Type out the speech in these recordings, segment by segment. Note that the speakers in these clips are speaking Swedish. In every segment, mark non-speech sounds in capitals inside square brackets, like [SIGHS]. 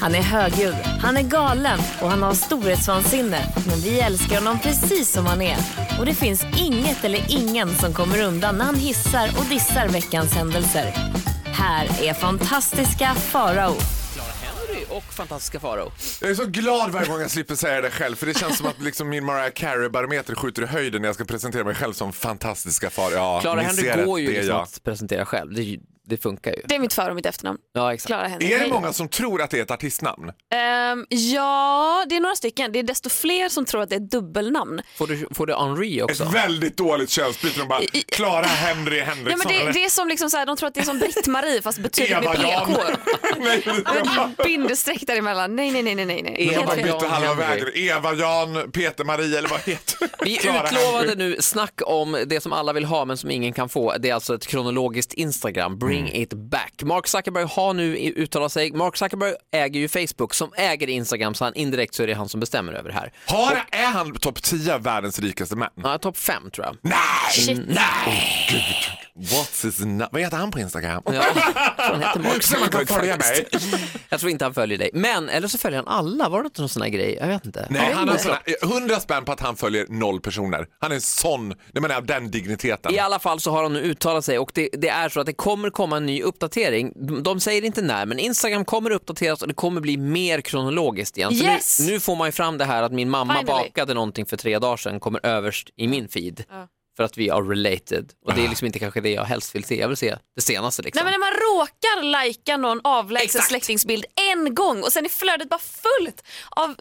Han är högljudd, han är galen och han har storhetsvansinne. Men vi älskar honom precis som han är. Och det finns inget eller ingen som kommer undan när han hissar och dissar veckans händelser. Här är fantastiska Farao. Clara Henry och fantastiska Faro. Jag är så glad varje gång jag slipper säga det själv för det känns som att liksom min Mariah Carey-barometer skjuter i höjden när jag ska presentera mig själv som fantastiska far. Ja, Clara ni ser Henry att går ju det är liksom jag. att presentera själv. Det, är ju- det funkar ju. Det är mitt för och mitt efternamn. Ja, exakt. Klara Henry. Är det många som tror att det är ett artistnamn? Ehm, ja, det är några stycken. Det är desto fler som tror att det är ett dubbelnamn. Får du, får du Henri Ett också? väldigt dåligt könsbyte. De bara, Clara Henry Ja, Henriksson. men det, det är som liksom så här, de tror att det är som Britt-Marie fast betydligt med PK. [LAUGHS] Eva-Jan. Bindestreck däremellan. Nej, nej, nej, nej, nej, nej. Eva Helt Man fel. bytte halva Henry. vägen. Eva-Jan, Peter-Marie eller vad heter Vi [LAUGHS] Clara utlovade Henry. nu snack om det som alla vill ha men som ingen kan få. Det är alltså ett kronologiskt Instagram, bring Mm. it back. Mark Zuckerberg har nu i- uttalat sig. Mark Zuckerberg äger ju Facebook som äger Instagram så han indirekt så är det han som bestämmer över det här. Har, är han topp 10 av världens rikaste män? Ja, topp fem tror jag. Nej! Nej! Gud. What's his na- Vad heter han på Instagram? Ja, han heter [LAUGHS] Mark Så man kan Zuckerberg följa mig. faktiskt. [LAUGHS] Jag tror inte han följer dig. Men, eller så följer han alla. Var det inte någon sån här grej? Jag vet inte. Nej, Ja, han har såna, 100 spänn på att han följer noll personer. Han är en sån, nej men av den digniteten. I alla fall så har de nu uttalat sig och det, det är så att det kommer komma en ny uppdatering. De- De säger inte när, men Instagram kommer uppdateras och det kommer bli mer kronologiskt igen. Så Yes! nu, nu får man ju fram det här att min mamma Finally. bakade någonting för tre dagar sedan kommer överst i min feed. Ja. För att vi är related. Och det är liksom inte kanske det jag helst vill se. Jag vill se det senaste liksom. Nej, men när man råkar lajka någon avlägsen släktingsbild en gång och sen är flödet bara fullt av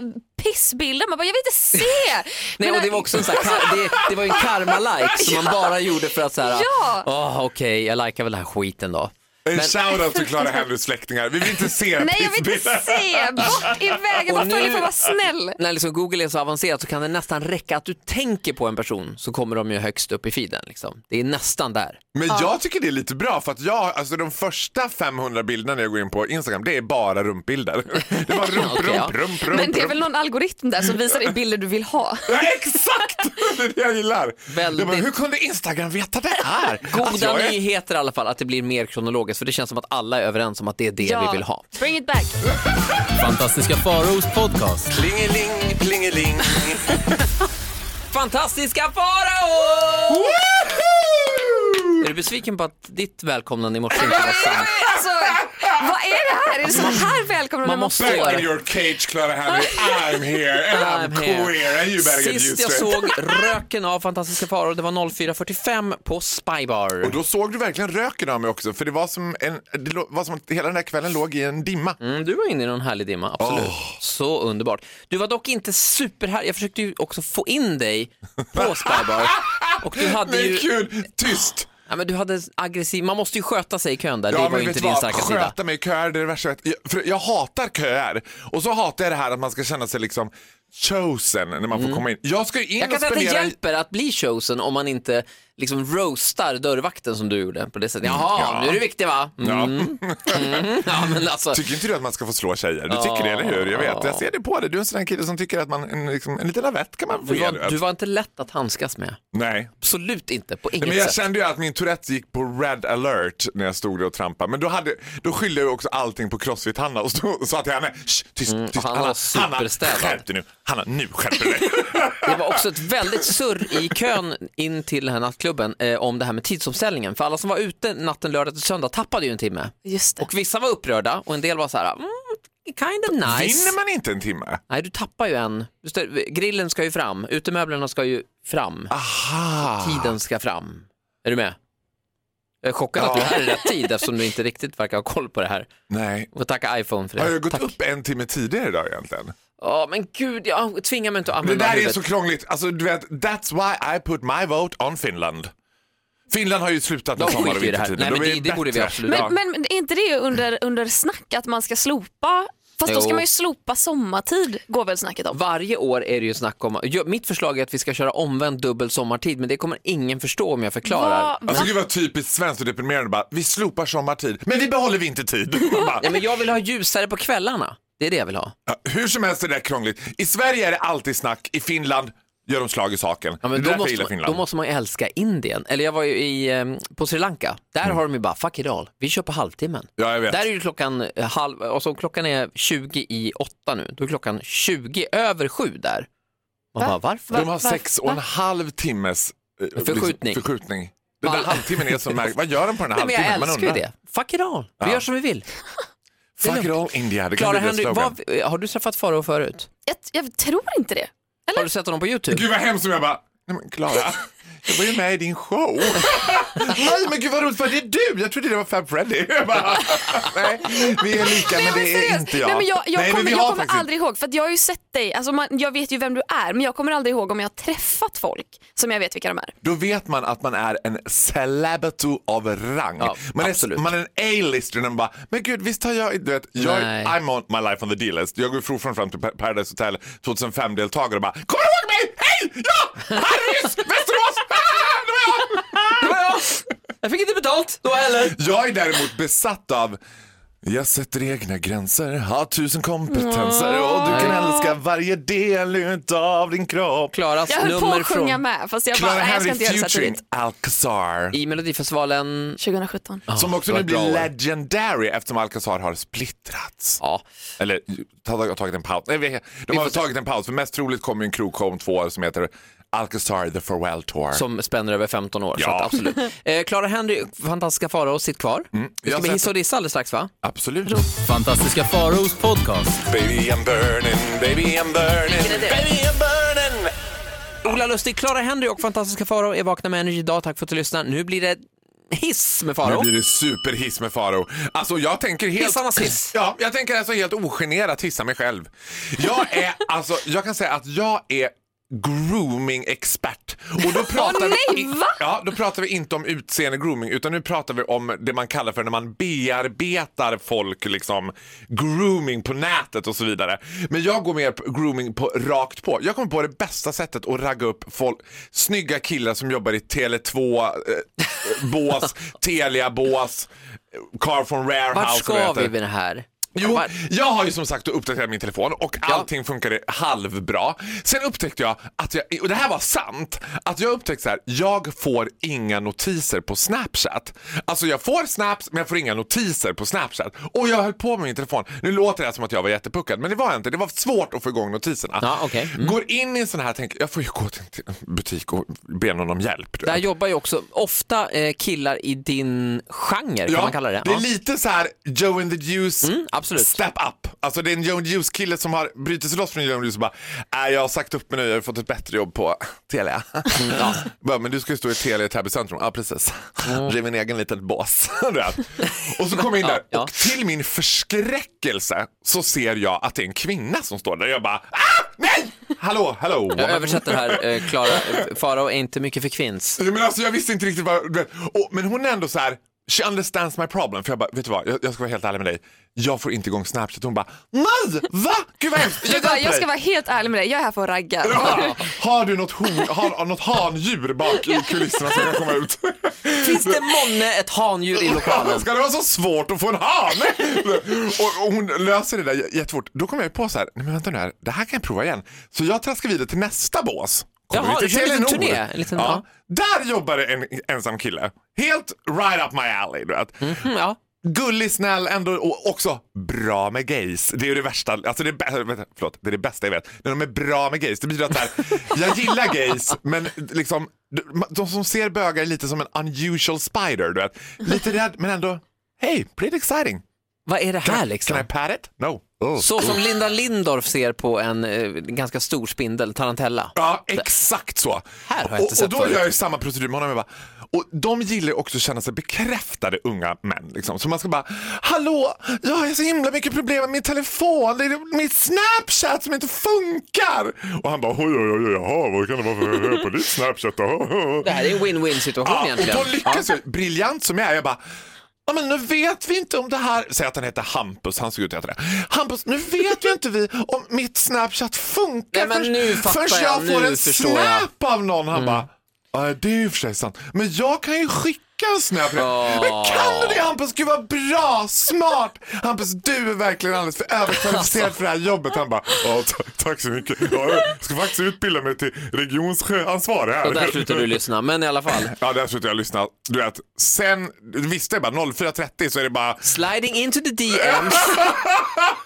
pissbilder. Man bara, jag vill inte se! [LAUGHS] Nej, Men och det när- var också en sån här, kar- det, det var ju en karma-like [LAUGHS] som man bara gjorde för att såhär, Ja. åh okej, jag likar väl den här skiten då. En Men- shoutout till [LAUGHS] Clara Henrys släktingar. Vi vill inte se Nej, jag vill inte pissbilder. se! Bort i vägen, [LAUGHS] bara Och nu- följ för att [LAUGHS] vara snäll. när liksom Google är så avancerat så kan det nästan räcka att du tänker på en person så kommer de ju högst upp i feeden. Liksom. Det är nästan där. Men jag tycker det är lite bra för att jag, alltså de första 500 bilderna jag går in på Instagram, det är bara rumpbilder. [LAUGHS] Det är bara rump, Okej, ja. rump, rump, rump. Men det är väl rump. någon algoritm där som visar dig bilder du vill ha. Ja, exakt! [LAUGHS] Det är det jag gillar. Väldigt- Jag bara, hur kunde Instagram veta det här? [LAUGHS] Att Goda jag är- nyheter i alla fall att det blir mer kronologiskt för det känns som att alla är överens om att det är det vi vill ha. Bring it back. Fantastiska Faraos podcast. Plingeling, plingeling. [LAUGHS] Fantastiska Farao! Woohoo! Är du besviken på att ditt välkomnande i morse inte var sant? [LAUGHS] Alltså, vad är det här? Är det så här välkomna Man man måste- måste... Back in your cage Clara Henry, I'm here and I'm, I'm here. queer and [LAUGHS] you better get Sist used jag to it. såg röken av Fantastiska Farao, det var 04.45 på Spybar. Och då såg du verkligen röken av mig också, för det var som, en, det lå- var som att hela den där kvällen låg i en dimma. Mm, du var inne i någon härlig dimma, absolut. Så underbart. Du var dock inte superhärlig. Jag försökte ju också få in dig på [LAUGHS] Spybar. Och du hade Nej, ju... kul! Tyst! Ja, men du hade aggressiv... Man måste ju sköta sig i kön där. det var ju inte vet du din vad? starka Sköta sida. mig i köer, det är det värsta jag vet. Jag- För jag hatar köer. Och så hatar jag det här att man ska känna sig liksom chosen när man får komma in. Jag ska ju in Mm. Jag kan och säga att det spendera... hjälper att bli chosen om man inte liksom roastar dörrvakten som du gjorde på det sättet. Jaha, Ja. nu är du viktig va? Mm. Ja. Ja, [LAUGHS] men alltså, Tycker inte du att man ska få slå tjejer? Du tycker det, eller hur? Jag vet, jag ser det på dig. Du är en sån här kille som tycker att man, en, liksom, en liten lavett kan man få du, ge. vet. var, du var inte lätt att handskas med. Nej. Absolut inte, på Nej, inget Men jag sätt. kände ju att min Tourette gick på red alert när jag stod där och trampade. Men då, hade, då skyllde jag ju också allting på Crossfit-Hanna och stod- [LAUGHS] sa till henne, "Shh, tyst, tyst, Mm, han Hanna, var Hanna, superstädad." skärp dig nu, Hanna, nu skärper du dig. Det var också ett väldigt surr i kön in till den här nattklubben eh, om det här med tidsomställningen. För alla som var ute natten lördag till söndag tappade ju en timme. Just det. Och vissa var upprörda och en del var så här, mm, kind of [LAUGHS] nice. Vinner man inte en timme? Nej, du tappar ju en. Du stör- Grillen ska ju fram, utemöblerna ska ju fram, Aha. tiden ska fram. Är du med? Jag är chockad att du är här i rätt tid eftersom du inte riktigt verkar ha koll på det här. Nej. Och tacka iPhone för det. Har jag gått Tack. upp en timme tidigare idag egentligen? Ja, men gud, jag tvingar mig inte att Det använda där är huvudet. så krångligt. Alltså, du vet, that's why I put my vote on Finland. Finland har ju slutat med De sommar och skiter i det här. vintertider. Nej, men De är det- det borde vi bättre. absolut Men, men är inte det under, under snack att man ska slopa? Fast då ska Jo. man ju slopa sommartid, går väl snacket om. Varje år är det ju snack om, Jo, mitt förslag är att vi ska köra omvänd dubbel sommartid men det kommer ingen förstå om jag förklarar. Va- Alltså gud vad typiskt svenskt och deprimerande bara, vi slopar sommartid, men vi behåller vintertid. [LAUGHS] Man bara, Ja, men jag vill ha ljusare på kvällarna, det är det jag vill ha. Ja, Hur som helst är det där krångligt. I Sverige är det alltid snack, i Finland gör de slag i saken. Ja, men det är då, därför jag måste gillar man, Finland. då måste man ju älska Indien. Eller jag var ju i, eh, på Sri Lanka. Där Mm. har de ju bara, fuck it all, vi kör på halvtimmen. Ja, jag vet. Där är ju klockan eh, halv, och så klockan är 20 i åtta nu, då är klockan 20 över sju där. Man bara, varför? de har sex och en halv timmes eh, Förskjutning. Liksom, förskjutning. Den Va? där halvtimmen är så märklig. Vad gör de på den här Nej, men halvtimmen? jag Man älskar ju undrar. det. Fuck it all, vi Ja. gör som vi vill. Fuck it all India, det kan Clara bli deras Henry, slogan. vad, har du träffat Farao förut? Jag, jag tror inte det. Har du sett honom på YouTube? Gud vad hemskt om jag bara, nej men Klara, jag var ju med i din show. nej men gud vad roligt, var det du? Jag trodde det var Fab Freddy. Jag bara, nej, vi är lika men det är seriöst. inte jag. Nej, men Alltså, jag, jag Nej, men kommer, vi jag har kommer faktiskt- aldrig ihåg, för att jag har ju sett dig, alltså man, jag vet ju vem du är, men jag kommer aldrig ihåg om jag har träffat folk som jag vet vilka de är. Då vet man att man är en celebrity av rang. Ja, man, är, absolut. man är en A-lister när man bara, men gud visst har jag, du vet, jag, Nej. I'm on my life on the D-list. Jag går från fram till Pa- Paradise Hotel 2005-deltagare och bara, kommer du ihåg mig? Hej! Ja! Harrys! Västerås! [LAUGHS] Ah, det var jag! Jag fick inte betalt då heller. Jag är däremot besatt av jag sätter egna gränser, har tusen kompetenser och du kan älska varje del utav din kropp. Klaras Jag höll på nummer att sjunga från med, fast jag bara, Clara nej, jag Henry ska inte göra det så här featuring tidigt. Alcazar. i Melodifestivalen. 2017. Som också det nu var bra blir år. legendary eftersom Alcazar har splittrats. Ja, Eller tagit, tagit en paus. Nej, vi- de har får se. tagit en paus för mest troligt kommer ju en krogshow om två år som heter Alcazar the Farewell Tour. som spänner över 15 år. Så Ja. att [LAUGHS] absolut. Eh, Clara Henry, fantastiska Farao, sitt kvar. Vi Mm, jag ska har med sett hiss och diss alldeles strax va? Absolut. Fantastiska Faraos podcast. Baby I'm burning, baby I'm burning, baby I'm burning. Ola Lustig, Clara Henry och fantastiska Farao är vakna med Energy idag. Tack för att du lyssnar. Nu blir det hiss med Nu Farao. blir det superhiss med Faro. Alltså jag tänker helt... Hissarnas hiss. Ja, jag tänker alltså helt ogenerat hissa mig själv. Jag är, alltså, jag kan säga att jag är grooming-expert. Och då pratar Åh, vi, nej, va? Ja, då pratar vi inte om utseende grooming utan nu pratar vi om det man kallar för när man bearbetar folk, liksom grooming på nätet och så vidare. Men jag går mer på grooming på rakt på. Jag kommer på det bästa sättet att ragga upp folk, snygga killar som jobbar i Tele2, eh, bås, Telia-bås, Car from Warehouse. Vart och vad ska heter vi det. med det här? Jo, Var- jag har ju som sagt uppdaterat min telefon och allting funkade halvbra. Sen upptäckte jag, att jag, och det här var sant, att jag upptäckte så här, jag får inga notiser på Snapchat. Alltså jag får snaps men jag får inga notiser på Snapchat. Och jag höll på med min telefon. Nu låter det här som att jag var jättepuckad men det var jag inte. Det var svårt att få igång notiserna. Ja, okej. Mm. Går in i en sån här, tänker jag får ju gå till en butik och be någon om hjälp. du Där vet. jobbar ju också ofta eh, killar i din genre, kan man kalla det? är lite så här Joe and the Juice Mm, absolut. Step up! Alltså det är en Joe Juice-kille som har brutit sig loss från Joe Juice och bara äh, jag har sagt upp mig nu, jag har fått ett bättre jobb på Telia. Mm, [LAUGHS] Bara, Men du ska ju stå i Telia i Täby centrum. Ja precis. Driv en egen liten bås. [LAUGHS] Du vet. och så kommer jag in där Mm. [LAUGHS] Ja, ja. och till min förskräckelse så ser jag att det är en kvinna som står där. Jag bara ah, nej! Hallå, hallå! Jag woman." översätter här, eh, Clara. Eh, Farao är inte mycket för kvinns. Nej, Men alltså jag visste inte riktigt vad... du vet. Och, men hon är ändå så här... She understands my problem. För jag bara, vet du vad? Jag, jag ska vara helt ärlig med dig. Jag får inte igång Snapchat. Hon bara, nej! Va? Gud vad hemskt! [LAUGHS] Du hjälper bara, jag dig." ska vara helt ärlig med dig, jag är här för att ragga. Ja. Har du något, hon, har, något handjur bak i kulisserna som kan komma [LAUGHS] ut? Finns det månne ett handjur i lokalen? Ska det vara så svårt att få en hane? och, och hon löser det där j- jättefort. Då kommer jag ju på så här, nej men vänta nu här, det här kan jag prova igen. Så jag traskar vidare till nästa bås. Kommer Jaha, vi till du kör en liten Telenor. turné, liksom, en liten- ja. Där jobbar det en ensam kille. Helt right up my alley, du vet. Mm, ja. Gullig, snäll, ändå och också bra med gays. Det är ju det värsta, alltså det, är bä- vänta, förlåt, det är det bästa jag vet. När de är bra med gays, det betyder att så här, jag gillar gays men liksom de- de som ser bögar är lite som en unusual spider, du vet. Lite rädd men ändå, hey, pretty exciting. Vad är det här liksom? Can I pat it? No. Oh. Så som Linda Lindorff ser på en eh, ganska stor spindel, tarantella. Ja, exakt så. Här har jag inte och, sett och då förut. gör jag ju samma procedur med honom. Jag bara, och de gillar ju också att känna sig bekräftade unga män. Liksom. Så man ska bara, hallå, jag har så himla mycket problem med min telefon, det är min Snapchat som inte funkar. Och han bara, oj, oj, oj, jaha, vad kan det vara för fel på ditt Snapchat då? Det här är en win-win situation Ja, och egentligen. då lyckas jag, briljant som jag är, jag bara Ja, men nu vet vi inte om det här, säg att han heter Hampus, han såg ut att heta det. Hampus, nu vet ju inte vi om mitt Snapchat funkar Nej, men förrän- nu fattar förrän jag, jag får nu en förstår jag. Mm. snap av någon. Han bara, ja det är ju i och för sig sant, men jag kan ju skicka veckans snö på det. Men kan du det Hampus? Gud vad bra, smart! Hampus, du är verkligen alldeles för Alltså. överkvalificerad för det här jobbet. Han bara, ja, ta- tack så mycket. Ja, jag ska faktiskt utbilda mig till regionsansvarig här. Och där slutar du lyssna, men i alla fall. Ja, där slutade jag lyssna. Du vet, sen, visst det är bara 04.30 så är det bara Sliding into the [LAUGHS] DMs.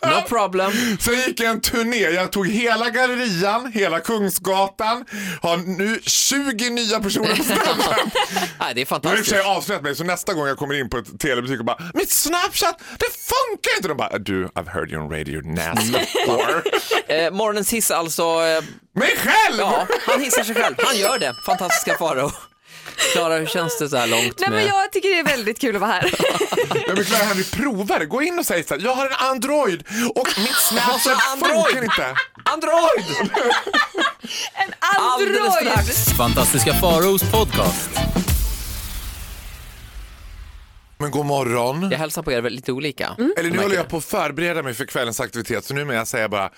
No problem. Sen gick jag en turné. Jag tog hela Gallerian, hela Kungsgatan. Har nu 20 nya personer [LAUGHS] på standup. Nej, det är Jag har i och för fantastiskt. sig avslöjat mig, så nästa gång jag kommer in på ett telebutik och bara “Mitt Snapchat, det funkar inte!” De bara “Du, I've heard you on radio [LAUGHS] nasty before." Eh, morgonens hiss alltså. Eh, Mig själv! ja, han hissar sig själv. Han gör det. Fantastiska Farao. Klara, hur känns det så här långt? Nej, men med- jag tycker det är väldigt kul [LAUGHS] att vara här. Jag vill klara här, vi provar det. Gå in och säg så här, “Jag har en Android och [LAUGHS] mitt Snapchat Android. funkar inte”. Android! En Alldeles android! strax. Fantastiska Faraos podcast. Men god morgon. Jag hälsar på er väldigt lite olika. Eller nu håller jag på att förbereda mig för kvällens aktivitet, så nu med jag säga bara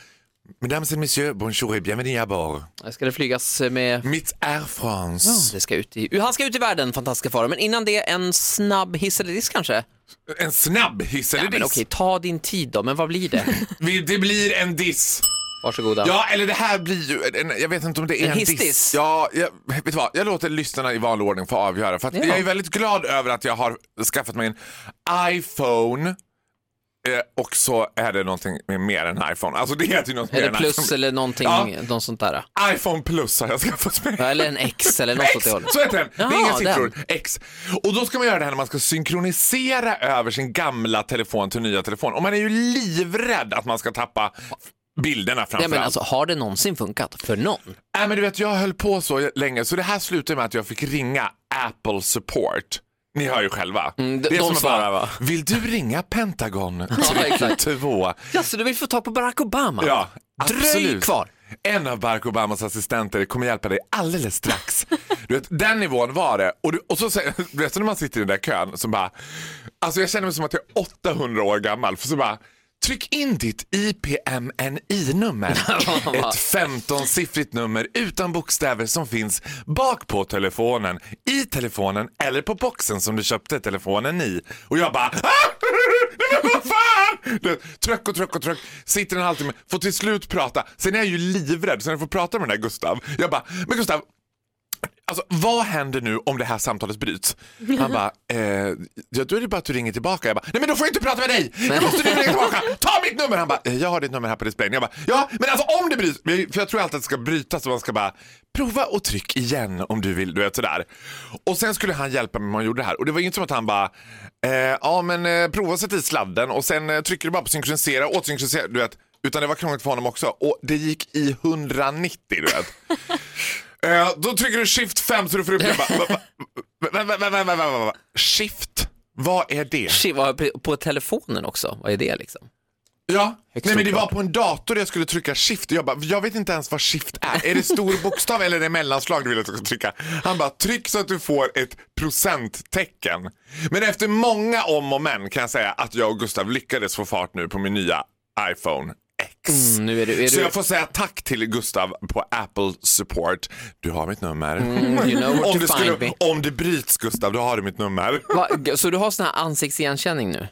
“Mesdames et messieurs, bonjour et bienvenue à bord”. Ska det flygas med Mitt Air France. Det ska ut i, han ska ut i världen, fantastiska faror. Men innan det, en snabb hiss eller diss kanske? En snabb hiss eller Ja, men diss? okej, ta din tid då, men vad blir [LAUGHS] det? Vi- Det blir en diss. Varsågoda. Ja, eller det här blir ju... En, jag vet inte om det är En en, hiss-diss? diss. Ja, jag, vet du vad? Jag låter lyssnarna i vanlig ordning få avgöra. För att Ja. Jag är väldigt glad över att jag har skaffat mig en iPhone. Eh, och så är det någonting med mer än iPhone. Alltså det heter ju något Är mer det än plus iPhone. eller någonting, Ja. något sånt där? iPhone plus har jag skaffat mig. Ja, Eller en X eller något åt det X, hållet. så heter den. det Jaha, är inga siffror. X. Och då ska man göra det här när man ska synkronisera över sin gamla telefon till nya telefon. Och man är ju livrädd att man ska tappa bilderna Nej, framförallt. men alltså, har det någonsin funkat för någon? Nej, men du vet, jag höll på så länge så det här slutade med att jag fick ringa Apple support. Ni hör ju själva. Mm, de- de är som att svarar, va? Vill du ringa Pentagon? [LAUGHS] exakt. Två. Ja, så du vill få tag på Barack Obama? Ja, Dröj absolut. kvar. En av Barack Obamas assistenter kommer hjälpa dig alldeles strax. Du vet, den nivån var det. Och, du, och så säger, [LAUGHS] du vet, så när man sitter i den där kön så bara, alltså jag känner mig som att jag är 800 år gammal. För så bara, tryck in ditt [LAUGHS] IPMNI-nummer. Ett 15-siffrigt nummer utan bokstäver som finns bak på telefonen, i telefonen eller på boxen som du köpte telefonen i. Och jag bara, "Ah!" [LAUGHS] Nej, men vad fan! Du, vet, tröck och tröck och tröck. Sitter en halvtimme, får till slut prata. Sen är jag ju livrädd, så när jag får prata med den där Gustav. Jag bara, men Gustav, alltså, vad händer nu om det här samtalet bryts? Han bara, eh, ja, då är det bara att du ringer tillbaka. Jag bara, nej men då får jag inte prata med dig! Då måste du ringa tillbaka! Ta mitt nummer! Han bara, eh, jag har ditt nummer här på displayen. Jag bara, ja men alltså om det bryts, Men jag- för jag tror alltid att det ska brytas och man ska bara prova och tryck igen om du vill, du vet sådär. Och sen skulle han hjälpa mig med hur man gjorde det här och det var ju inte som att han bara, eh, ja men eh, prova sätt i sladden och sen eh, trycker du bara på synkronisera, återsynkronisera, du vet. Utan det var krångligt för honom också och det gick i 190 du vet. Eh, då trycker du shift 5 så du [LAUGHS] får upp det. Jag bara, va- va- va- va- va- va- va- va- va- va- Shift, vad är det? Shit, vad- På telefonen också, vad är det liksom? Ja, Högst nej men det oklart. var på en dator jag skulle trycka shift. Jag bara, jag vet inte ens vad shift är. Är [LAUGHS] det stor bokstav eller är det mellanslag du vill att jag ska trycka? Han bara, tryck så att du får ett procenttecken. Men efter många om och men kan jag säga att jag och Gustav lyckades få fart nu på min nya iPhone X. Mm, nu är du, är Så du, jag får säga tack till Gustav på Apple Support. Du har mitt nummer. you know where om, to det find me. skulle, om det bryts Gustav, då har du mitt nummer. Va, så du har sån här ansiktsigenkänning nu?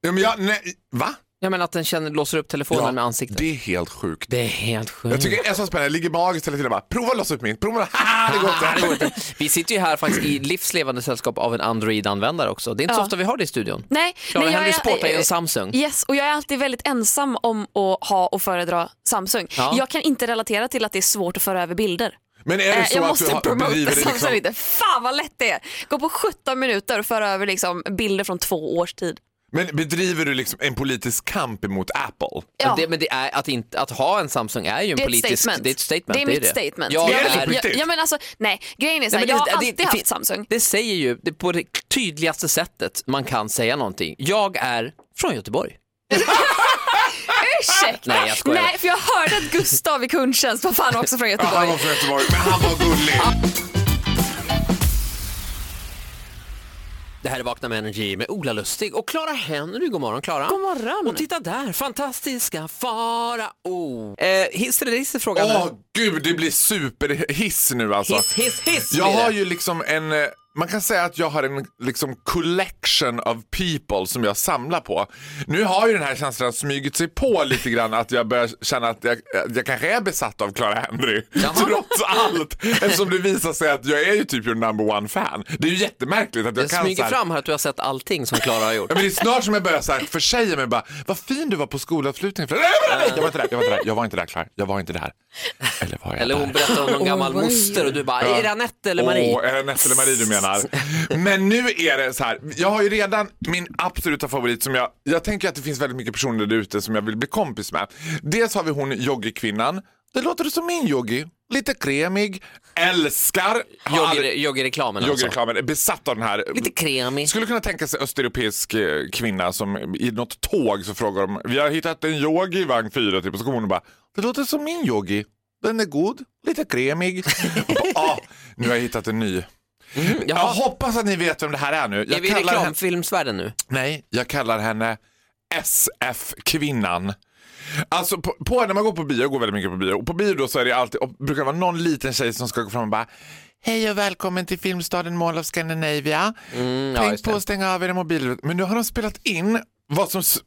Ja, men jag, nej, va? Ja, men att den känner, låser upp telefonen med ansiktet? Det är helt sjukt. Det är helt sjukt. Jag tycker det är så spännande. Jag ligger magiskt hela tiden och bara prova att [LAUGHS] lossa upp min. Prova, haha, det går inte. Ah, det går inte. Vi sitter ju här faktiskt i livslevande sällskap av en Android-användare också. Det är inte så Ja. ofta vi har det i studion. Nej, Klara nej, jag Henry är- eh, Sport är ju en Samsung. Yes, och jag är alltid väldigt ensam om att ha och föredra Samsung. Ja. Jag kan inte relatera till att det är svårt att föra över bilder. Men är det Eh, så jag att måste du har, promota bedriver det Samsung liksom, lite. Fan vad lätt det är. Gå på 17 minuter och föra över liksom bilder från två års tid. men bedriver du liksom en politisk kamp emot Apple? Ja. Det, men det är att, inte, att ha en Samsung är ju en Det är ett politisk... statement. Det är ett statement. Det är mitt statement. Ja, Det är det det så på är, riktigt? Ja, ja, men alltså, nej, grejen är så här, Nej, jag men har det- det- alltid det haft fin- Samsung. det säger ju det, på det tydligaste sättet man kan säga någonting. Jag är från Göteborg. Ursäkta! [LAUGHS] Nej, jag skojar. Nej, för jag hörde att Gustav i kundtjänst var fan också från Ja, han Göteborg. var från Göteborg, men han var gullig. Det här är Vakna med Energy med Ola Lustig och Clara Henry. God morgon Clara. God morgon. Och titta där, fantastiska fara. Oh. Eh, hiss eller diss är frågan. Åh gud, det blir superhiss nu alltså. Hiss, hiss, hiss Jag blir det. har ju liksom en eh, Man kan säga att jag har en liksom, collection of people som jag samlar på. Nu har ju den här känslan smugit sig på lite grann att jag börjar känna att jag, att jag kanske är besatt av Clara Henry. Trots allt. Eftersom det visar sig att jag är ju typ your number one fan. Det är ju jättemärkligt att jag Det kan så smyger här, fram här att du har sett allting som Klara har gjort. Ja, men det är snart som jag börjar så här försäga mig bara, vad fin du var på skolavslutningen. För- Nej, nej, nej, Eh, Jag var inte där, jag var inte där, jag var inte där Clara, jag var inte där. Eller var jag Eller där? hon berättar om någon gammal moster och du bara, är det Anette eller Marie? Åh, är det Anette eller Marie du menar? Men nu är det så här. Jag har ju redan min absoluta favorit som jag... Jag tänker att det finns väldigt mycket personer där ute som jag vill bli kompis med. Dels har vi hon joggikvinnan. Det låter som min joggi. Lite kremig. Älskar. har aldrig- Jogger- Joggerreklamen alltså. Joggreklamen. är Besatt av den här. Lite kremig. Skulle kunna tänka sig östeuropeisk eh, kvinna som i något tåg så frågar de Vi har hittat en yogi i vagn 4 typ och så kommer hon och bara Det låter som min yogi. Den är god, lite kremig. [LAUGHS] Och bara, ah, nu har jag hittat en ny. Jag Jaha. hoppas att ni vet vem det här är nu. Jag Är vi i kallar henne, reklamfilmsvärlden nu? nej, jag kallar henne SF-kvinnan. Alltså på, på, när man går på bio, jag går väldigt mycket på bio, och på bio då så är det alltid, och brukar det vara någon liten tjej som ska gå fram och bara Hej och välkommen till filmstaden Mall of Scandinavia. Mm, ja, Tänk just på det. att stänga av era mobiler. Men nu har de spelat in vad som... s-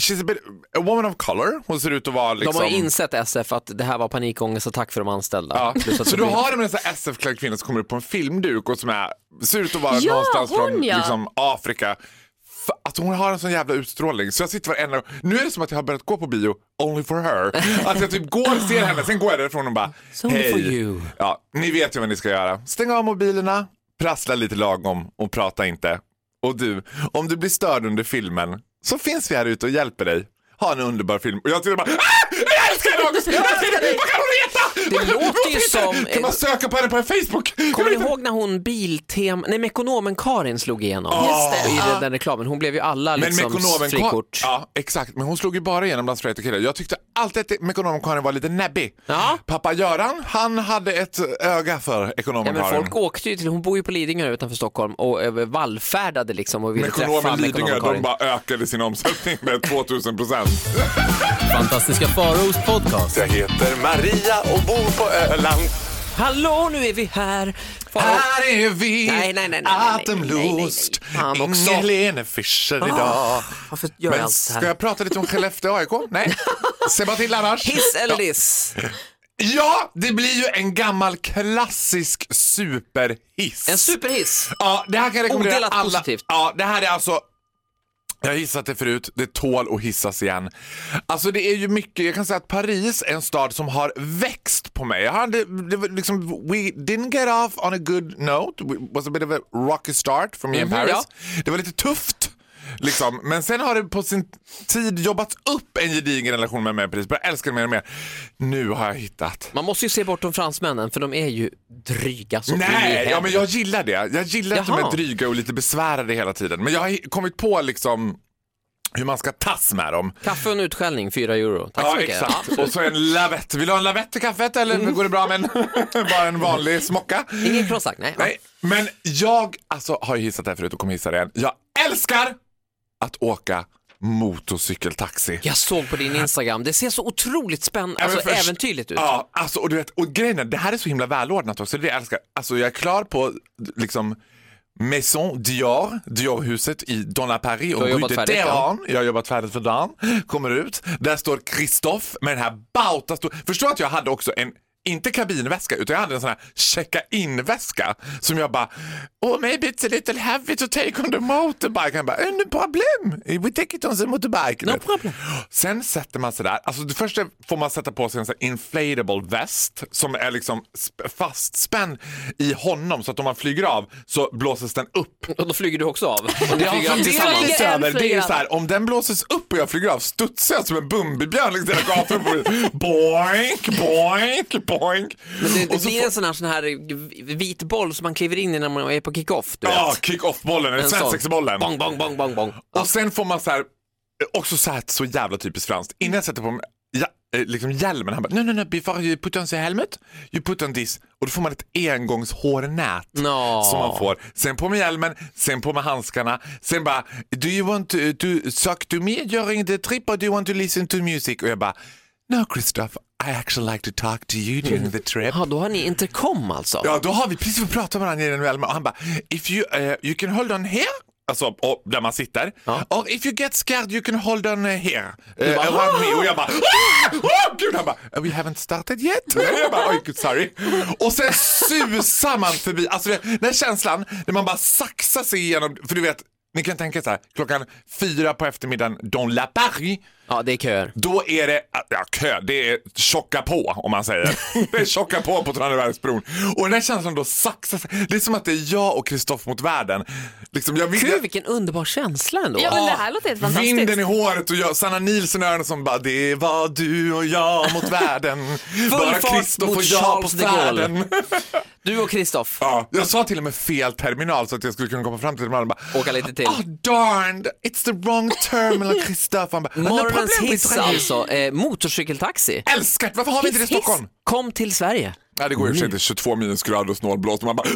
She's a, bit, a woman of color. Hon ser ut att vara liksom... De har ju insett SF att det här var panikångestattack för de anställda. Ja. Plus att Så det då blir- har de en sån här SF-klädd kvinna som kommer upp på en filmduk och som är, ser ut att vara Ja, någonstans hon, från ja. liksom, Afrika. F- Att hon har en sån jävla utstrålning. Så jag sitter varenda Nu är det som att jag har börjat gå på bio only for her. Att jag typ går och ser henne, sen går jag därifrån och bara only hej. for you. Ja, ni vet ju vad ni ska göra. Stäng av mobilerna, prassla lite lagom och prata inte. Och du, om du blir störd under filmen så finns vi här ute och hjälper dig. Ha en underbar film. Och jag sitter och bara ah! Jag älskar henne August! Jag älskar henne! Vad kan hon heta? Det Vad kan- låter vad ju heter hon? som- Kan man söka på henne på Facebook? Jag Kommer vet ni inte. ihåg när hon Biltem, nej Mekonomen-Karin slog igenom Just det, i ja. den, den reklamen? Hon blev ju alla Men liksom Mekonomen frikort. Ja, exakt. Men hon slog ju bara igenom bland straighta killar. Jag tyckte alltid att Mekonomen Karin var lite näbbig. Ja. Pappa Göran, han hade ett öga för Ja, ekonomen men Karin. folk åkte ju till, hon bor ju på Lidingö utanför Stockholm och eh, vallfärdade liksom och ville träffa Mekonomen Lidingö, de Mekonomen-Karin. bara ökade sin omsättning med 2000 procent. Fantastiska Faraos podcast. Jag heter Maria och bor på Öland. Hallå, nu är vi här! Fan, Här är vi, Nej, nej, nej, nej, nej, Atemlust, nej, nej, nej. Fan också. Ah. Inge-Lene Fischer idag. varför gör jag Men allt så ska här? jag prata lite om Skellefteå AIK? [LAUGHS] Nej, se bara till annars. Hiss eller diss? Ja, det blir ju en gammal klassisk superhiss. En superhiss. Ja, det här kan jag rekommendera Odelat alla. positivt. Ja, det här är alltså jag har hissat det förut, det tål att hissas igen. Alltså det är ju mycket, jag kan säga att Paris är en stad som har växt på mig. Jag hade, det var liksom, we didn't get off on a good note, it was a bit of a rocky start for me in Mhm, Paris. ja. Det var lite tufft. Liksom. Men sen har det på sin tid jobbats upp en gedigen relation med mig i Paris. Jag älskar det mer och mer. Nu har jag hittat. Man måste ju se bortom fransmännen för de är ju dryga som in i Nej, ja, helvete. men jag gillar det. Jag gillar att de Jaha. är dryga och lite besvärade hela tiden. Men jag har hi- kommit på liksom hur man ska tass med dem. Kaffe och en utskällning, 4 euro. Tack så Ja, mycket. exakt. Och så en lavett. Vill du ha en lavett till kaffet eller går det bra med en, [LAUGHS] bara en vanlig smocka? Ja. Ingen croissack, nej. Nej, men jag alltså, har ju hissat det här förut och kommer hissa det igen. Jag älskar att åka motorcykeltaxi. Jag såg på din Instagram, det ser så otroligt spännande, men alltså först- äventyrligt ut. Ja, alltså, och, du vet, och grejen är, det här är så himla välordnat också. Det är det jag älskar. Alltså, jag är klar på liksom Maison Dior, Diorhuset i Donna Paris och har Rue jobbat de färdigt, ja. Téhéran. Jag har jobbat färdigt för dagen. Kommer ut, där står Kristoff med den här bauta stor... Förstår att jag hade också en inte kabinväska, utan jag hade en sån här checka-in-väska som jag bara Oh, maybe it's a little heavy to take on the motorbike. Han bara, eh, no problem, we take it on the motorbike. No problem. Sen sätter man sig där. Alltså det första får man sätta på sig en sån här inflatable väst som är liksom sp- fastspänd i honom så att om man flyger av så blåses den upp. Och då flyger du också av. Och ni flyger Jag av har funderat tillsammans. lite Flyger en, över, det är flyger ju så här, om den blåses upp och jag flyger av studsar jag som en Bumbibjörn längs hela gatan. och får- boink, boink, boink. Men det, Och det så blir en sån här, sån här vit boll som man kliver in i när man är på kick-off. Du vet. Ja, kick-off-bollen, eller En sån. svensexbollen. Bong, bong, bong, bong, bong. Och sen får man så här, också så här så jävla typiskt franskt. Innan jag sätter på mig ja, eh, liksom hjälmen, han bara no, no, no, before you put on the helmet, you put on this. Och då får man ett engångshårnät Nå. som man får. Sen på med hjälmen, sen på med handskarna, sen bara do you want to, to talk to me during the trip or do you want to listen to music? Och jag bara no Christoph, I actually like to talk to you during the trip. Ja, då har ni intercom alltså? Ja, då har vi precis fått prata med varandra genom Elmer och han bara If you, eh, you can hold on here. Alltså och, där man sitter. Or if you get scared you can hold on eh, here. Eh, bara, around me. Och jag bara "Ah! oh, Gud, han bara "Eh, We haven't started yet. [LAUGHS] jag bara oj gud sorry. Och sen susar man förbi. Alltså det- den här känslan när man bara saxar sig igenom. För du vet, ni kan tänka så här. Klockan fyra på eftermiddagen, dans la Paris. Ja, det är köer. Då är det ah, ja, kö, det är tjocka på om [LAUGHS] man säger. Det är tjocka på på Tranebergsbron. Och den här känslan då saxar sig. Det är som att det är jag och Kristoff mot världen. Liksom, jag vill, Ah, Gud, vilken underbar känsla ändå. Ja, men det här låter Ah, helt fantastiskt. Vinden i håret och jag, Sanna Nilsson i öronen som bara det var du och jag [LAUGHS] mot världen. Bara fart Kristoff mot och jag på Charles de Gaulle. världen. Du och Kristoff. Ja, jag sa till och med fel terminal så att jag skulle kunna komma fram till terminalen och bara Åka lite till. Oh darned, it's the wrong [LAUGHS] terminal Kristoff. Han bara, "No Morgonens problem, hiss Israel." alltså, eh, motorcykeltaxi. Älskat, varför har vi inte det i Hiss, hiss. Stockholm? Kom till Sverige. Nej, det går ju inte. 22 minusgrader och snålblåst. och Man bara...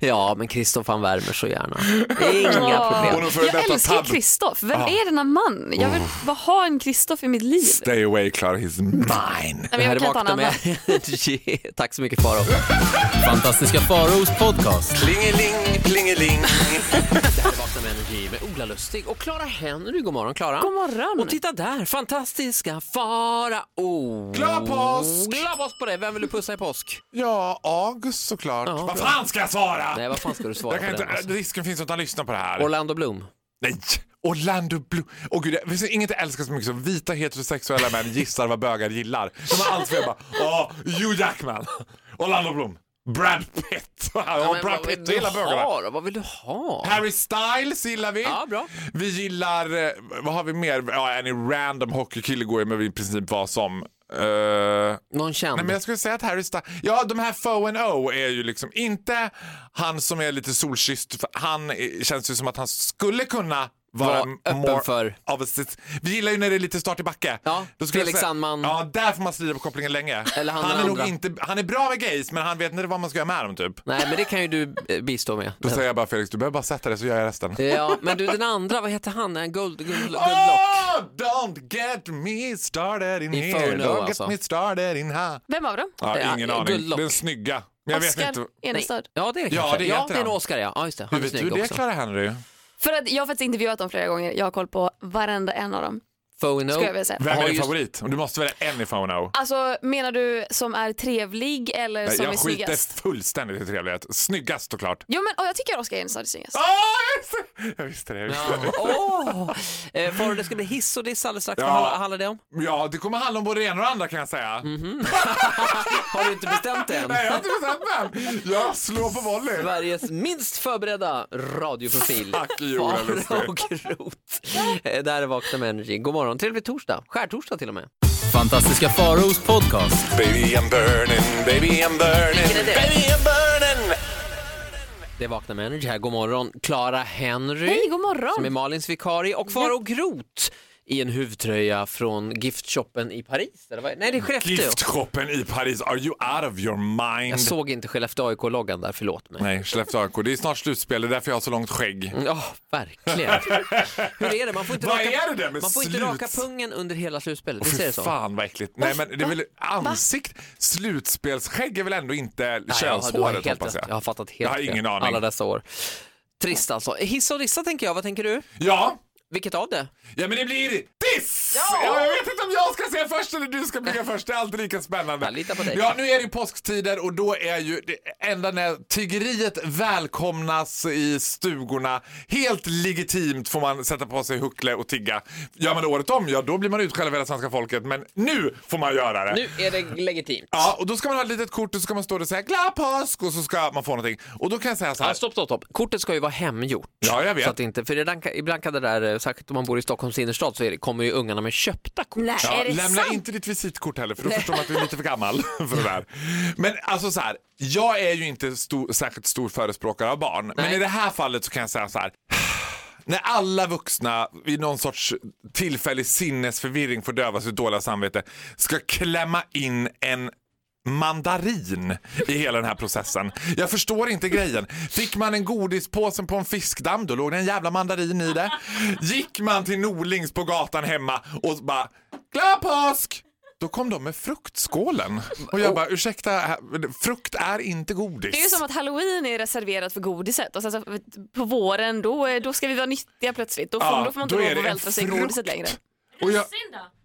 Ja, men Kristoff han värmer så gärna. Inga Åh. problem. Och de före Jag detta Ah. älskar tab- Kristoff. Vem är denna man? Jag vill bara ha en Kristoff i mitt [LAUGHS] liv. Stay away, Clara, he's mine. Nej, men jag kan inte ha en annan. med... [LAUGHS] Tack så mycket Faro. Fantastiska Faraos podcast. Plingeling, plingeling. Det här är Vakna med Energy med Ola Lustig och Clara Henry. God morgon Clara. God morgon. Och titta där, fantastiska Farao. Glad påsk! Glad påsk på dig. Vem vill du pussa i påsk? Ja, August såklart. Ja, bra. vad fan ska jag svara? Nej, vad fan ska du svara jag på kan inte, den? Alltså? Risken finns att han lyssnar på det här. Orlando Bloom. Nej! Orlando Bloom. Åh gud, det finns inget jag älskar så mycket som vita heterosexuella män gissar vad bögar gillar. De har allt för jag bara, åh, Hugh Jackman, Orlando Bloom, Brad Pitt. Ja, Brad vad Pitt vill du gillar bögarna. ha då? Vad vill du ha? Harry Styles gillar vi. Ja, bra. Vi gillar, eh, vad har vi mer? Ja, en random hockeykille går ju med i princip vad som. Eh, Någon känd? nej men jag skulle säga att Harry Styles, ja de här Fo and O är ju liksom inte han som är lite solkysst, för han är, känns ju som att han skulle kunna vara Var öppen more för- of a sit- Vi gillar ju när det är lite start i backe. Ja, Då skulle jag Felix säga- Sandman. Ja, där får man slira på kopplingen länge. Eller han han, den är nog andra. inte, han är bra med gays men han vet inte vad man ska göra med dem typ. Nej, men det kan ju du eh, bistå med. Då säger jag bara Felix, du behöver bara sätta dig så gör jag resten. Ja, men du den andra, vad heter han? En Gold, gold, gold, Oh, don't get me started in I here. Fono, Don't get alltså. me started in here. Vem av dem? Det är- Ja, ingen eh, aning. Guldlock. Den snygga. Men jag vet inte. Oscar Enestad. Ja, det är det Ja, kanske. det ja, heter det är en han. Oscar, ja. ja just det. Hur Han är vet du snygg det också. Clara Henry? För att jag har faktiskt intervjuat dem flera gånger. Jag har koll på varenda en av dem. Fono. Skulle jag vilja säga. Vem Ja, är din just- favorit? Du måste välja en i Fono. Alltså menar du som är trevlig eller som är Jag skiter snyggast? fullständigt i trevlighet. Snyggast såklart. Jo men åh, jag tycker Oscar Enestad är snyggast. Ah, yes! Jag visste det. Jag visste det. Ja. Ah, Åh! Eh, Farao, det ska bli hiss och diss alldeles strax. Ja. Vad handlar- handlar det om? Ja, det kommer handla om både det ena och det andra kan jag säga. Mhm. Har du inte bestämt det än? Nej, jag har inte bestämt vem. Jag slår på volley. Sveriges minst förberedda radioprofil. Tack, Jonas Lustig. och Rot. Eh, Där är Vakna med Energy. God morgon. Trevlig torsdag. Skärtorsdag till och med. Fantastiska Faraos podcast. Baby I'm burning, baby I'm burning, baby I'm burning. Det är Vakna med Energy här. God morgon. Clara Henry. Hej, god morgon. Som är Malins vikarie. Och Farao Groth i en huvtröja från giftshoppen i Paris. Eller vad? Nej, det är Skellefteå. Giftshoppen i Paris. Are you out of your mind? Jag såg inte Skellefteå AIK-loggan där, förlåt mig. Nej, Skellefteå AIK. Det är snart slutspel. Det är därför jag har så långt skägg. Ja, [LAUGHS] verkligen. Hur är det? Man får inte, Vad raka, är det där med man får inte slut? raka pungen under hela slutspelet. Visst är Fy det så? fan vad äckligt. Nej men det är väl ansikt, slutspelsskägg är väl ändå du inte har helt könshåret rätt. hoppas jag. Jag har fattat helt Jag har ingen fel aning. alla dessa år. Trist alltså. Hissa och dissa tänker jag, vad tänker du? Ja, Vilket av det? ja men det blir diss! Ja. jag vet inte om jag ska säga först eller du ska bli först, det är alltid lika spännande. Jag litar på dig. Ja, nu är det ju påsktider och då är ju det enda när tiggeriet välkomnas i stugorna, helt legitimt får man sätta på sig huckle och tigga. Gör man det året om, ja då blir man utskälld av hela svenska folket, men nu får man göra det. Nu är det legitimt. Ja, och då ska man ha ett litet kort och så ska man stå där och säga glad påsk och så ska man få någonting. Och då kan jag säga så här. Ja, stopp, stopp, stopp. Kortet ska ju vara hemgjort. Ja, jag vet. Alltså, Så att det inte, för ibland, kan- ibland kan det där, eh, särskilt om man bor i Stockholms innerstad, så är det, kommer ju ungarna med köpta kort. Nej, Ja, är det lämna sant? inte ditt visitkort heller för då förstår man att du är lite för gammal [LAUGHS] för det där. Men alltså så här, jag är ju inte stor, särskilt stor förespråkare av barn. Men Nej. i det här fallet så kan jag säga så här. [SIGHS] När alla vuxna i någon sorts tillfällig sinnesförvirring får döva sitt dåliga samvete ska klämma in en mandarin i hela den här processen. Jag förstår inte grejen. Fick man en godispåse på en fiskdamm, då låg det en jävla mandarin i det. Gick man till Norlings på gatan hemma och bara Glad påsk! Då kom de med fruktskålen. Och jag bara, ursäkta, här- frukt är inte godis. Det är ju som att halloween är reserverat för godiset och sen så på våren då, är- då ska vi vara nyttiga plötsligt. Då får, Ja, då får man inte då är lov det att en vältra sig i frukt. godiset längre. Och jag,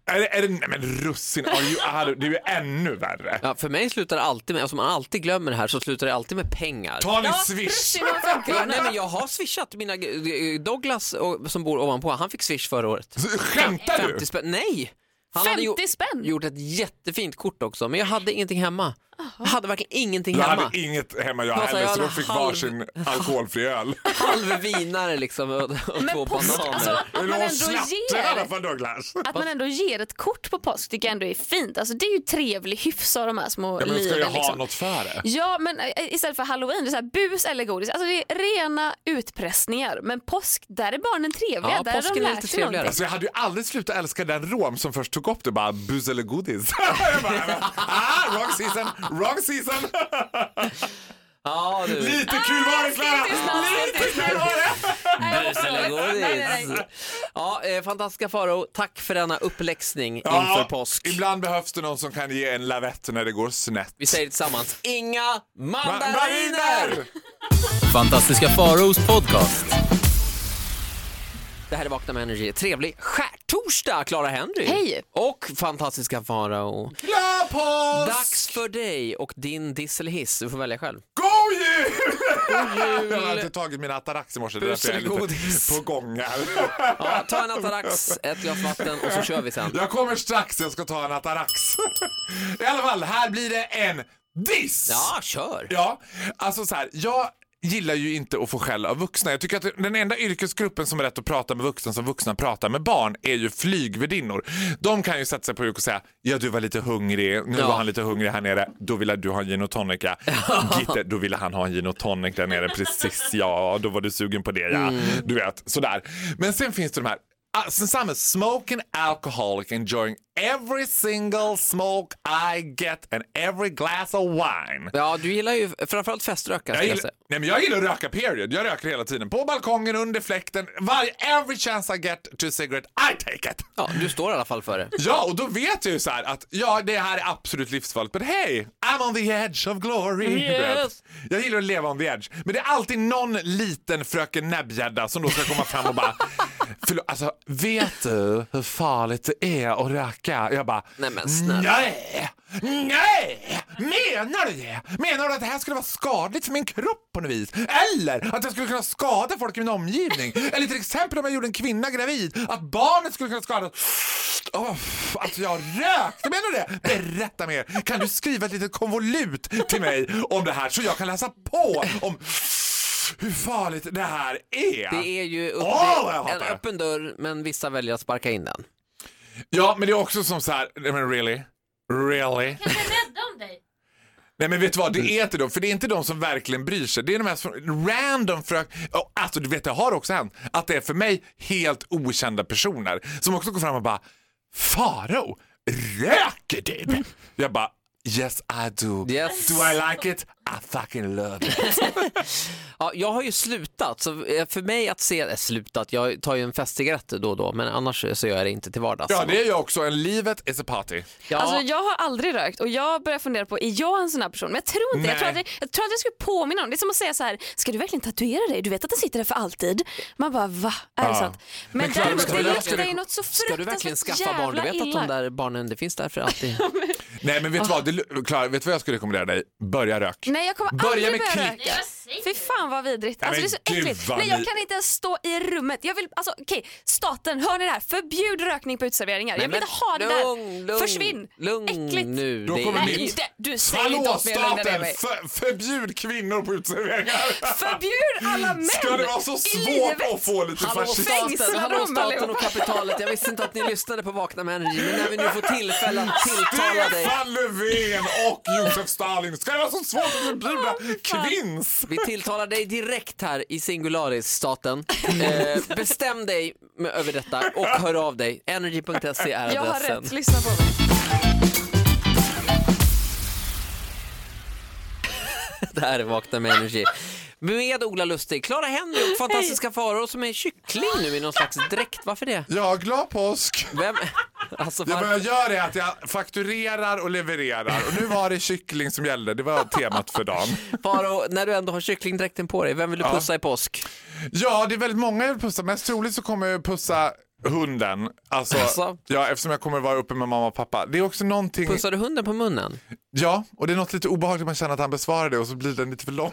är det, är det, nej men russin, are you out of, det är ju ännu värre. Ja, för mig slutar det alltid med, som man alltid glömmer det här, så slutar det alltid med pengar. Ta nu Ja, swish. russin och Ja, femkronor. nej, men jag har swishat mina eh, Douglas och, som bor ovanpå, han fick swish förra året. Skämtar du? 50 spänn, nej! Han hade 50 spänn? gjort ett jättefint kort också, men jag hade ingenting hemma. Jag hade verkligen ingenting Jag hemma. hade inget hemma jag Alltså, heller jag så de hade fick halv- varsin alkoholfri öl. Halv vinare liksom och, och två påsk- bananer. alltså, att man Eller ändå hon snattar i alla ger, fall Douglas. att man ändå ger ett kort på påsk tycker jag ändå är fint. Alltså, det är ju trevlig hyfs av de här små Ja, men ska jag liren. ha Liksom. något för det? Ja, men eh, istället för halloween, det är så här bus eller godis. Alltså det är rena utpressningar. Men påsk, där är barnen trevliga. Ja, där har de påsken är lärt lite sig någonting. trevligare. Alltså jag hade ju aldrig slutat älska den rom som först tog upp det bara bus eller godis. [LAUGHS] jag bara, ah, wrong season, wrong season. Ah, Ja, du. Lite kul var det Klara! Lite kul var det! Bus eller godis. Ja, eh, fantastiska Faro, tack för denna uppläxning inför påsk. ibland behövs det någon som kan ge en lavett när det går snett. Vi säger det tillsammans, inga Ma- mandariner! Fantastiska Faraos podcast. Det här är Vakna med Energy. Trevlig skärtorsdag, Clara Henry. Hej. Och fantastiska Farao. Glad påsk! Dags för dig och din diss eller hiss. Du får välja själv. God jul! Jag har inte tagit min atarax i morse, det är Bus därför jag eller är godis? lite på gång här. Ja, ta en Atarax, ett glas vatten och så kör vi sen. Jag kommer strax, jag ska ta en atarax. [LAUGHS] I alla fall, här blir det en diss! Ja, kör. Ja, alltså så här, jag gillar ju inte att få skäll av vuxna. Jag tycker att den enda yrkesgruppen som har rätt att prata med vuxna som vuxna pratar med barn är ju flygvärdinnor. De kan ju sätta sig på huk och säga ja du var lite hungrig, nu Ja. var han lite hungrig här nere, då ville du ha en gin och tonica. Gitte, då ville han ha en gin och tonic där nere, precis ja, då var du sugen på det ja. Du vet, sådär. Men sen finns det de här Ah, Sen samma, smoking alcoholic enjoying every single smoke I get and every glass of wine. Ja, du gillar ju framförallt feströkar. Jag ska jag gillar, säga. nej men jag gillar att röka period. Jag röker hela tiden. På balkongen, under fläkten. Varje, every chance I get to cigarette, I take it! Ja, du står i alla fall för det. [LAUGHS] Ja, och då vet jag ju så här att ja, det här är absolut livsfarligt. Men hey, I'm on the edge of glory. Du vet. Yes. Jag gillar att leva on the edge. Men det är alltid någon liten fröken näbbgädda som då ska komma fram och bara [LAUGHS] Förlåt, alltså vet du hur farligt det är att röka? Jag bara, Nej, men snälla. nej, nej, menar du det? Menar du att det här skulle vara skadligt för min kropp på något vis? Eller att jag skulle kunna skada folk i min omgivning? Eller till exempel om jag gjorde en kvinna gravid, att barnet skulle kunna skadas? Åh, alltså jag rökte, menar du det? Berätta mer. Kan du skriva ett litet konvolut till mig om det här så jag kan läsa på om hur farligt det här är? Det är ju upp, Åh, vad jag en hatar det. öppen dörr, men vissa väljer att sparka in den. Ja, men det är också som så här, nej men really? Really? Jag är rädd om dig. Nej men vet du vad, det är inte de, för det är inte de som verkligen bryr sig. Det är de här som, random frök... Ja, Alltså du vet, det har också hänt att det är för mig helt okända personer som också går fram och bara Faro, röker du? Jag bara Yes I do. Yes. Do I like it? I fucking love it. Ja, jag har ju slutat, så eh, för mig att se... eh, slutat, jag tar ju en festcigarett då och då, men annars så gör jag det inte till vardags. Ja, det är jag också. En livet is a party. Ja. Alltså, jag har aldrig rökt och jag börjar fundera på, är jag en sån här person? Men jag tror inte det. jag tror, att Nej. jag, jag tror att jag skulle påminna om det. Det är som att säga så här, ska du verkligen tatuera dig? Du vet att den sitter där för alltid. Man bara, va? Är det sant? Men, Men Clara, däremot, ska det du- luktar ska ju du- något så Ska du verkligen fruktansvärt skaffa barn? Du jävla vet att illa. de där barnen, det finns där för [LAUGHS] alltid. Nej, men vet du vad? Det, Klara, vet du vad jag skulle rekommendera dig? Börja rök. Nej, jag kommer Börja aldrig med börja klick. Nej, röka. vad säger Fy du? fan vad vidrigt. Alltså, det är men så gud, äckligt. vad Nej, jag ni- kan inte ens stå i rummet. Jag vill, alltså, okej, staten, hör ni det här? Förbjud rökning på uteserveringar. Jag vill inte ha det där. lugn, lugn, Försvinn. Lugn Äckligt. nu. Då det är kommer ju- Nej, mitt. det, du säger inte Hallå åt mig att lugna ner staten! mig. För, förbjud kvinnor på uteserveringar! Förbjud alla män Ska det vara så i svårt livet? att få lite Hallå fascism? fängsla staten, hallå dem staten och allihopa. kapitalet. Jag visste inte att ni lyssnade på Vakna med Energy, men när vi nu får tillfälle att tilltala dig. Stefan Löfven och Josef Stalin. Ska det vara så svårt att förbjuda kvinns? Vi tilltalar dig direkt här i singularis, [LAUGHS] staten. Eh, bestäm dig med, över detta och hör av dig. Energy.se är Jag har adressen. rätt, lyssna på mig. Det här är Vakna med Energy. Med Ola Lustig, Clara Henry och fantastiska Farao som är kyckling nu i någon slags dräkt. Varför det? Ja, glad påsk. Vem, Alltså, Det var- vad jag gör är att jag fakturerar och levererar. Och nu var det kyckling som gällde, det var temat för dagen. Faro, när du ändå har kycklingdräkten på dig, vem vill du pussa i påsk? Ja, det är väldigt många jag vill pussa. Mest troligt så kommer jag pussa hunden. Alltså, Alltså? Ja, eftersom jag kommer vara uppe med mamma och pappa. Det är också någonting... Pussar du hunden på munnen? [LAUGHS] Ja, och det är något lite obehagligt man känner att han besvarar det och så blir den lite för lång.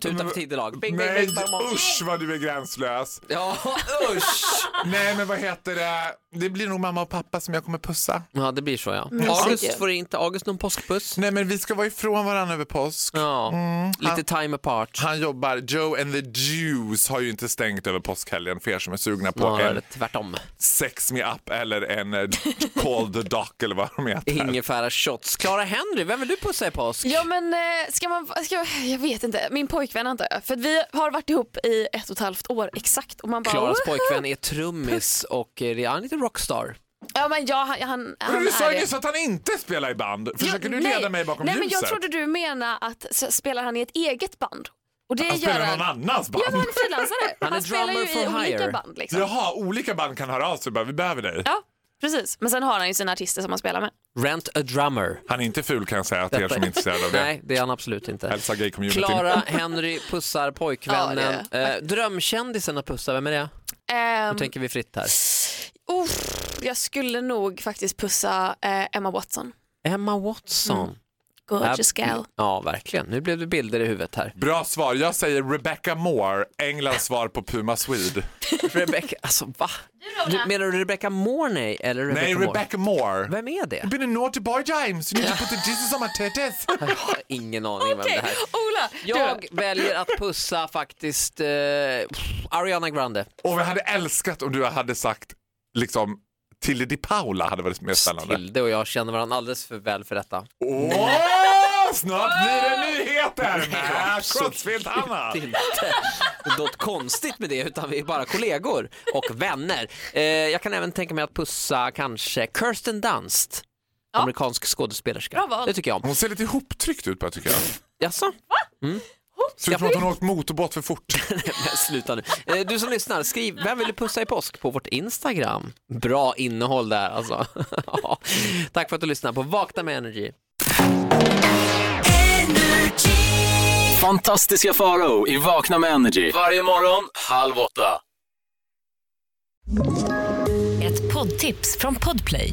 Tuta för tidelag. Bing, bing, Nej, bing, bang, bang. usch vad du är gränslös. Ja, usch! Nej, men vad heter det? Det blir nog mamma och pappa som jag kommer pussa. Ja, det blir så ja. Mm. August får inte August någon påskpuss. Nej, men vi ska vara ifrån varandra över påsk. Ja, lite time apart. Han jobbar, Joe and the Jews har ju inte stängt över påskhelgen för er som är sugna på Snarare en tvärtom. Sex Me Up eller en eh, Call the Doc eller vad de heter. Ingefära shots. Clara Henry, vem vill du pussa i påsk? Ja men eh, ska man, ska, jag vet inte, min pojkvän antar jag. För att vi har varit ihop i ett och ett halvt år exakt och man bara [LAUGHS] Klaras "Woho!" pojkvän är trummis och eh, han är lite rockstar. Ja men ja, han, han, Men han du sa är ju det. nyss att han inte spelar i band. Försöker Jo, du leda mig bakom nej, ljuset? Men jag trodde du menade att s- spelar han i ett eget band. Och det han gör spelar i han. någon annans band. Ja, men han är frilansare. är spelar ju drummer for i olika hire. band. Liksom. Ja. Jaha, olika band kan höra av sig bara, vi behöver dig. precis. Men sen har han ju sina artister som han spelar med. Rent a drummer. Han är inte ful kan jag säga till er som är intresserade av det. [LAUGHS] Nej, det är han absolut inte. Hälsa gay-communityn. Klara Henry pussar pojkvännen. Ja, det eh, drömkändisen att pussa, vem är det? Ehm, Nu tänker vi fritt här. uff, jag skulle nog faktiskt pussa eh, Emma Watson. Emma Watson. Gorgeous Ja, gal. Ja, verkligen. Nu blev det bilder i huvudet här. Bra svar. Jag säger Rebecca Moore, Englands svar på Puma Swede. Rebecca, alltså va? Du, menar du Rebecca Morney eller Rebecca Nej, Moore? Rebecca Moore. Vem är det? I've been a naughty boy James, you need to put the Jesus on my [LAUGHS] titties. Jag har ingen aning vem det här Ola, Jag väljer att pussa faktiskt eh, Ariana Grande. Och vi hade älskat om du hade sagt liksom Tilde Di Paula hade varit mer spännande. Tilde och jag känner varandra alldeles för väl för detta. Åh, snart blir det nyheter med Crossfield Hanna. Inte något konstigt med det utan vi är bara kollegor och vänner. Eh, jag kan även tänka mig att pussa kanske Kirsten Dunst. Amerikansk skådespelerska. Bra val. Det tycker jag om. Hon ser lite ihoptryckt ut på det, tycker jag. Jaså? Ser ut som att hon har åkt motorbåt för fort. [LAUGHS] Men Sluta nu. Eh, Du som lyssnar, skriv vem vill du pussa i påsk på vårt Instagram. Bra innehåll där alltså. [LAUGHS] Ja. Tack för att du lyssnar på Vakna med Energy. Fantastiska Farao i Vakna med Energy. Varje morgon, halv åtta. Ett poddtips från Podplay.